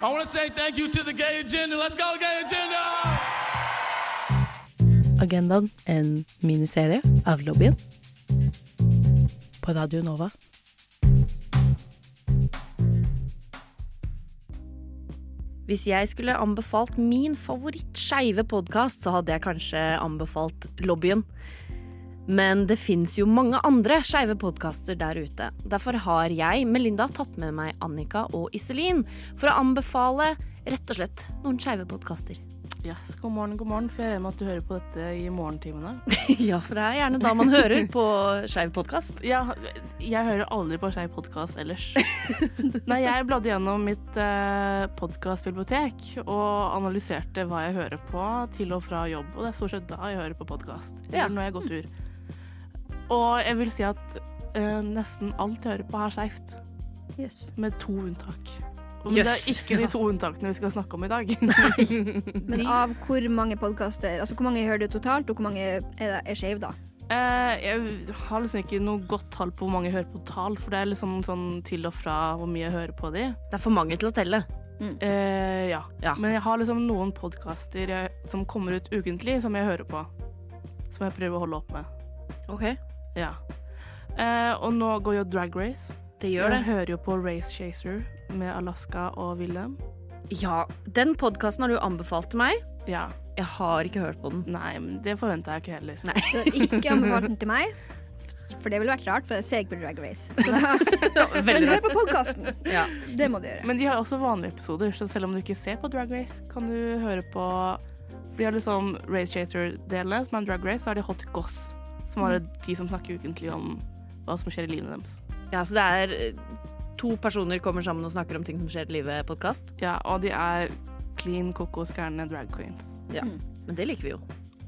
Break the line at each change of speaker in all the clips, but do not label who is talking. I want to say thank you to the gay agenda. Let's go, gay agenda!
Agendaen, en miniserie av lobbyen. På Radio Nova.
Hvis jeg skulle anbefalt min favorittskeive podkast, så hadde jeg kanskje anbefalt Lobbyen. Men det fins jo mange andre skeive podkaster der ute. Derfor har jeg, Melinda, tatt med meg Annika og Iselin for å anbefale rett og slett noen skeive podkaster.
Yes, god morgen, god morgen. For jeg regner med at du hører på dette i morgentimene.
ja, for det er gjerne da man hører på skeiv podkast.
Ja, jeg hører aldri på skeiv podkast ellers. Nei, jeg bladde gjennom mitt eh, podkastbibliotek og analyserte hva jeg hører på til og fra jobb. Og det er stort sett da jeg hører på podkast. Eller
Ja.
når jeg går tur. Og jeg vil si at eh, nesten alt jeg hører på, er skeivt. Med to unntak. Og men
Yes.
det er ikke de to unntakene vi skal snakke om i dag.
Men
ah,
av hvor mange podkaster Altså hvor mange hører du totalt, og hvor mange er, er skeive, da?
Eh, jeg har liksom ikke noe godt tall på hvor mange jeg hører på tall, for det er liksom sånn til og fra hvor mye jeg hører på de.
Det er for mange til å telle.
Eh, ja.
Ja.
Men jeg har liksom noen podkaster jeg- som kommer ut ukentlig, som jeg hører på. Som jeg prøver å holde opp med.
Ok.
Ja. Eh, og nå går jo Drag Race.
Det
så
gjør det.
Jeg hører jo på Race Chaser med Alaska og Wilhelm.
Ja, den podkasten har du anbefalt til meg.
Ja.
Jeg har ikke hørt på den.
Nei, men det forventa jeg ikke heller.
Du har ikke anbefalt den til meg, f- for det ville vært rart, for jeg ser ikke på Drag Race. Så da, men
Veldig
hør på podkasten!
Ja.
Det må du gjøre.
Men de har også vanlige episoder, så selv om du ikke ser på Drag Race, kan du høre på For de har liksom Race Chaser-delene, som er Drag Race, så har de Hot Goss, som er
Mm.
de som snakker ukentlig om hva som skjer i livet deres.
Ja, så det er eh, to personer kommer sammen og snakker om ting som skjer i livet-podkast.
Ja, og de er clean, kokos, gærne drag queens.
Ja. Men det liker vi jo.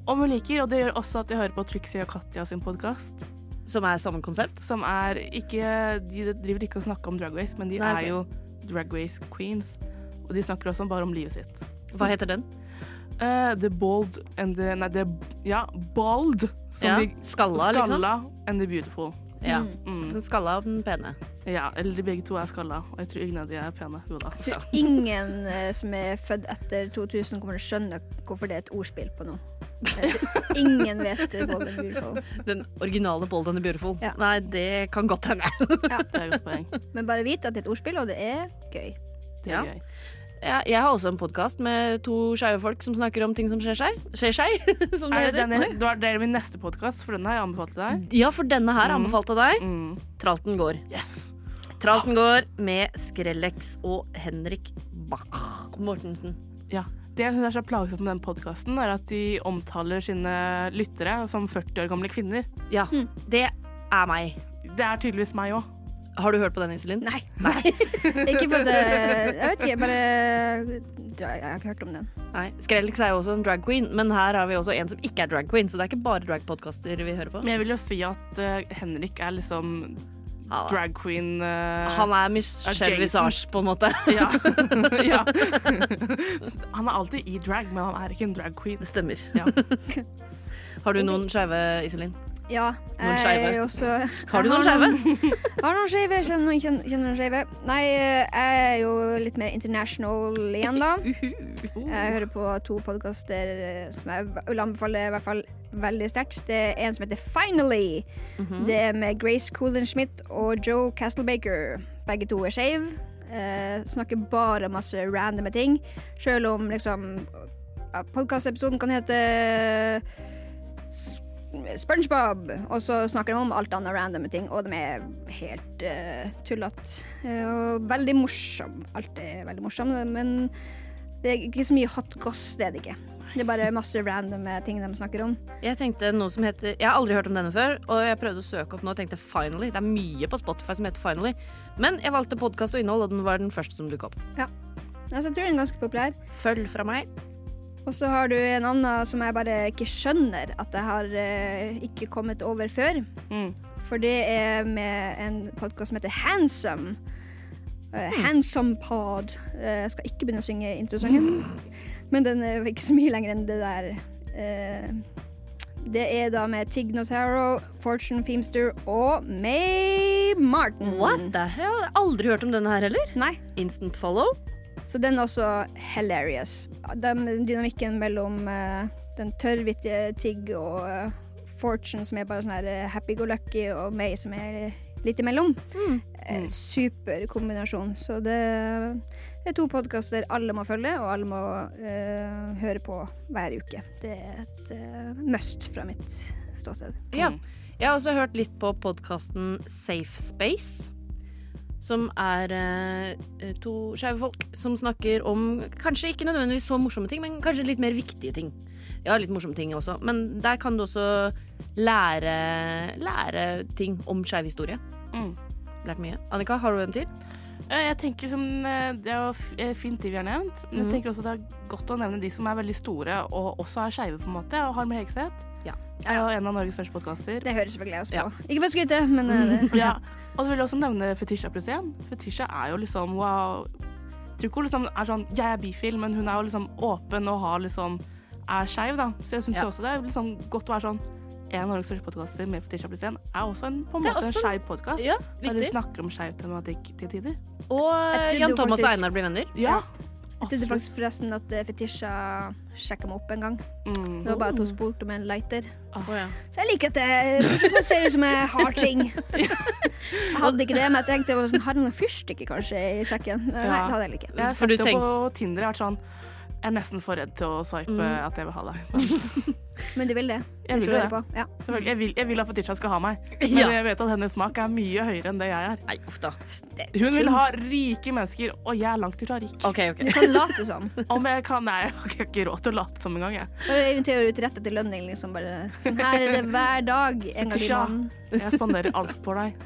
Om hun liker, og det gjør også at jeg hører på Trixie og Katja sin podkast,
Som er samme konsept.
som er ikke De driver ikke og snakker om Drag Race, men de
Nei, ok.
er jo Drag Race queens, og de snakker også bare om livet sitt.
Hva heter den?
Eh, the Bald and the Nei, det Ja, Bald. Som
ja.
de
skalla,
skalla
liksom?
and the beautiful.
Ja.
Mm.
Den skalla og den pene.
Ja, eller de begge to er skalla, og jeg tror ingen av de er pene. Jo da.
Jeg tror ingen eh, som er født etter 2000, kommer til å skjønne hvorfor det er et ordspill på noe. Jeg tror Ingen vet det. Golden Beautiful.
Den originale Bold and the Beautiful.
Ja.
Nei, det kan godt hende.
Det er et godt poeng.
Men bare vit at det er et ordspill, og det er gøy.
Det er
Ja.
gøy.
Ja, jeg har også en podkast med to skeive folk som snakker om ting som skjer seg. Skjer seg, som det
Er det,
heter.
den jeg, Eh, det var det er min neste podkast, for den har jeg anbefalt til deg.
Ja, for denne her
Mm.
anbefalte deg.
Mm.
Tralten går.
Yes.
Tralten går med Skrellex og Henrik Bach Mortensen.
Det jeg syns er så plagsomt med den podkasten, er at de omtaler sine lyttere som 40 år gamle kvinner.
Ja,
Mm.
det er meg.
Det er tydeligvis meg òg.
Har du hørt på den, Iselin?
Nei. Ikke for at eh, Jeg vet ikke, jeg bare Jeg har ikke hørt om den.
Nei, Skrellix er jo også en drag queen, men her har vi også en som ikke er drag queen, så det er ikke bare dragpodkaster vi hører på.
Men jeg vil jo si at eh, Henrik er liksom
Ja da.
drag queen eh,
Han er Michelle
Jason.
Visage, på en måte.
ja. ja. Han er alltid i drag, men han er ikke en drag queen.
Det stemmer.
Ja.
Har du noen skeive, Iselin?
Ja.
Noen
jeg
skeive?
er også
Har du
Jeg
noen skeive?
Jeg Har noen skeive? Kjenner noen, kjenner, kjenner noen skeive? Nei, eh, jeg er jo litt mer international igjen, da. Jeg hører på to podkaster som jeg vil anbefale i hvert fall veldig sterkt. Det er en som heter Finally. Det er med Grace Coolen-Schmidt og Joe Castlebaker. Begge to er skeive. Eh, snakker bare masse randome ting. Selv om liksom ja, Podkastepisoden kan hete S- SpongeBob, og så snakker de om alt annet randome ting, og de er helt uh, tullete. Eh, og veldig morsom. Alt er veldig morsom, men det er ikke så mye hot goss, det er det ikke. Det er bare masse randome ting de snakker om.
Jeg tenkte noe som heter Jeg har aldri hørt om denne før, og jeg prøvde å søke opp nå og tenkte Finally. Det er mye på Spotify som heter Finally, men jeg valgte podkast og innhold, og den var den første som dukket opp.
Altså, jeg tror den er ganske populær.
Følg fra meg.
Og så har du en annen som jeg bare ikke skjønner at jeg har eh, ikke kommet over før.
Mm.
For det er med en podkast som heter Handsome. Eh, Handsome Pod. Eh, jeg skal ikke begynne å synge introsangen, men den er ikke så mye lenger enn det der. Eh, det er da med Tig Notaro, Fortune Feamster og May Martin.
What the hell? Aldri hørt om denne her heller.
Nei.
Instant follow.
Så den er også hilarious. Den dynamikken mellom eh, den tørrvittige Tigg og eh, Fortune, som er bare sånn her eh, happy-go-lucky, og meg, som er litt imellom.
Mm.
Eh, Super kombinasjon. Så det, det er to podkaster alle må følge, og alle må eh, høre på hver uke. Det er et eh, must fra mitt ståsted.
Mm. Ja. Jeg har også hørt litt på podkasten Safe Space. Som er eh, to skeive folk som snakker om kanskje ikke nødvendigvis så morsomme ting, men kanskje litt mer viktige ting. Ja, litt morsomme ting også, men der kan du også lære, lære ting om skeiv historie.
Mm.
Lært mye. Annika, har du en til?
Eh, Jeg tenker sånn, eh, Det er jo f- eh, fint de vi har nevnt, men
Mm.
jeg tenker også det er godt å nevne de som er veldig store og også er skeive, på en måte. Og Harm Hegseth
Ja.
er jo en av Norges største podkaster.
Det hører selvfølgelig jeg også
Ja.
på. Ikke for å skryte, men eh, det,
Ja. Og så vil jeg også nevne Fetisha pluss én. Fetisha er jo liksom wow. Jeg tror ikke hun liksom er sånn 'jeg er bifil', men hun er jo liksom åpen og har liksom er skeiv, da. Så jeg syns
Ja.
også det er liksom godt å være sånn en av Norges største podkaster med Fetisha pluss én er også en, på en
Det er
måte en
også-
skeiv podkast.
Ja,
Der de
viktig.
snakker om skeiv tematikk til tider.
Og
Jeg trodde
Jan
jo
Thomas og
faktisk-
Einar blir venner.
Ja. Jeg
Absolutt.
trodde faktisk forresten at eh, Fetisha sjekka meg opp en gang.
Mm.
Det var bare at hun spurte om en lighter.
Ah.
Å, ja.
Så jeg liker at det eh, det ser ut som jeg har ting. Jeg hadde ikke det, men jeg tenkte jeg var sånn, har hun noen fyrstikker kanskje i sekken? Nei,
Ja.
det hadde jeg ikke.
Jeg har
For
sett
du
det på Tinder. Jeg har vært sånn Jeg er nesten for redd til å swipe
Mm.
at jeg vil ha deg.
Men du vil det?
Jeg
Hvis
vil jo
du hører
det.
på. Ja.
Selvfølgelig. Jeg vil, jeg vil at Fetisha skal ha meg, men
Ja.
jeg vet at hennes smak er mye høyere enn det jeg er.
Nei, uff da.
Hun vil ha rike mennesker, og jeg er langt ifra rik.
OK, OK.
Du kan late som.
Om jeg kan Nei, jeg har ikke råd til å late som engang, jeg.
Bare inviterer du til rette til lønning, liksom. Bare, sånn her er det hver dag. En gang i
Fetisha.
måneden.
Jeg spanderer alt på deg.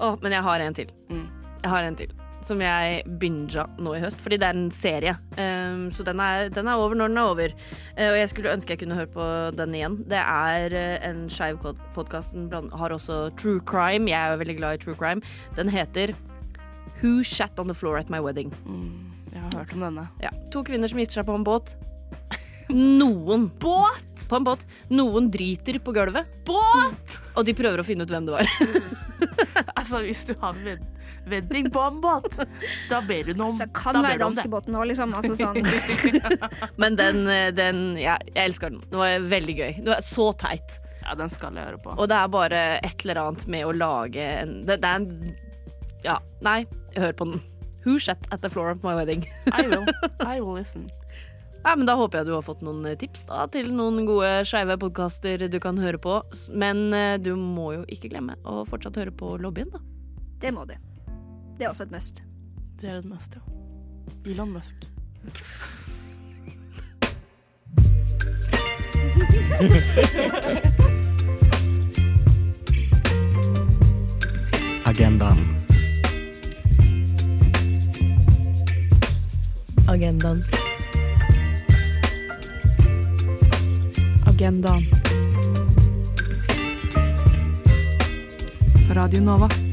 Å, men jeg har en til.
Mm.
Jeg har en til. Som jeg binga nå i høst, fordi det er en serie. Um, så den er, den er over når den er over. Eh, og jeg skulle ønske jeg kunne hørt på den igjen. Det er eh, en skeiv podkast. Den bland- har også true crime. Jeg er jo veldig glad i true crime. Den heter Who Shat On The Floor At My Wedding.
Mm. Jeg har hørt om denne.
Ja. To kvinner som gifter seg på en båt. Noen Båt! På en båt. Noen driter på gulvet. Båt! Og de prøver å finne ut hvem det var.
Altså, hvis du har ved wedding på en båt, da ber du noe om
Så kan
da ber
være
du om det.
danskebåten òg, liksom. Altså sånn.
Men den, eh, den ja, Jeg elsker den. Det var veldig gøy. Det var så teit.
Ja, den skal jeg høre på.
Og det er bare et eller annet med å lage en Det, det er en Ja, nei, hør på den. Who shat at the floor of my wedding?
I will. I will listen.
Nei, men Da håper jeg du har fått noen eh, tips da, til noen gode skeive podkaster du kan høre på. S- Men eh, du må jo ikke glemme å fortsatt høre på lobbyen, da.
Det må du. Det er også et must.
Det er et must, ja. Elon Musk.
Agendaen.
Agendaen. Agendaen.
På Radio Nova.